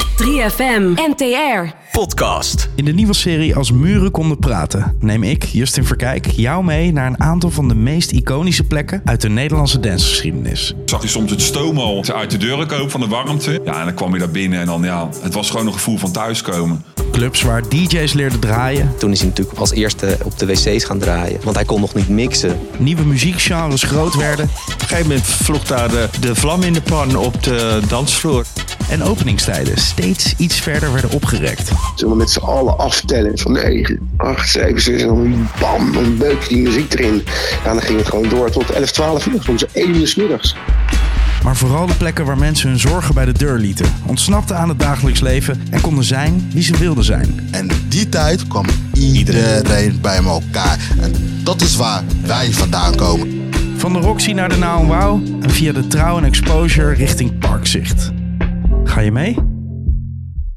3FM, NTR. Podcast. In de nieuwe serie Als Muren Konden Praten neem ik, Justin Verkijk, jou mee naar een aantal van de meest iconische plekken uit de Nederlandse dancegeschiedenis. Zag je soms het stoom al uit de deuren komen van de warmte. Ja, en dan kwam je daar binnen en dan ja, het was gewoon een gevoel van thuiskomen. Clubs waar DJ's leerden draaien, Toen is hij natuurlijk als eerste op de wc's gaan draaien. Want hij kon nog niet mixen. nieuwe muziekgenres groot werden Op een gegeven moment vloog daar de, de vlam in de pan op de dansvloer. en openingstijden steeds iets verder werden opgerekt. Zullen we met z'n allen aftellen van 9, 8, 7, 6 en dan bam, dan beuk die muziek erin. Ja, dan ging het gewoon door tot 11, 12 uur, soms 1 uur 's middags. Maar vooral de plekken waar mensen hun zorgen bij de deur lieten, ontsnapten aan het dagelijks leven en konden zijn wie ze wilden zijn. En in die tijd kwam iedereen bij elkaar. En dat is waar wij vandaan komen. Van de Roxy naar de Now Wow en via de Trouw en Exposure richting Parkzicht. Ga je mee?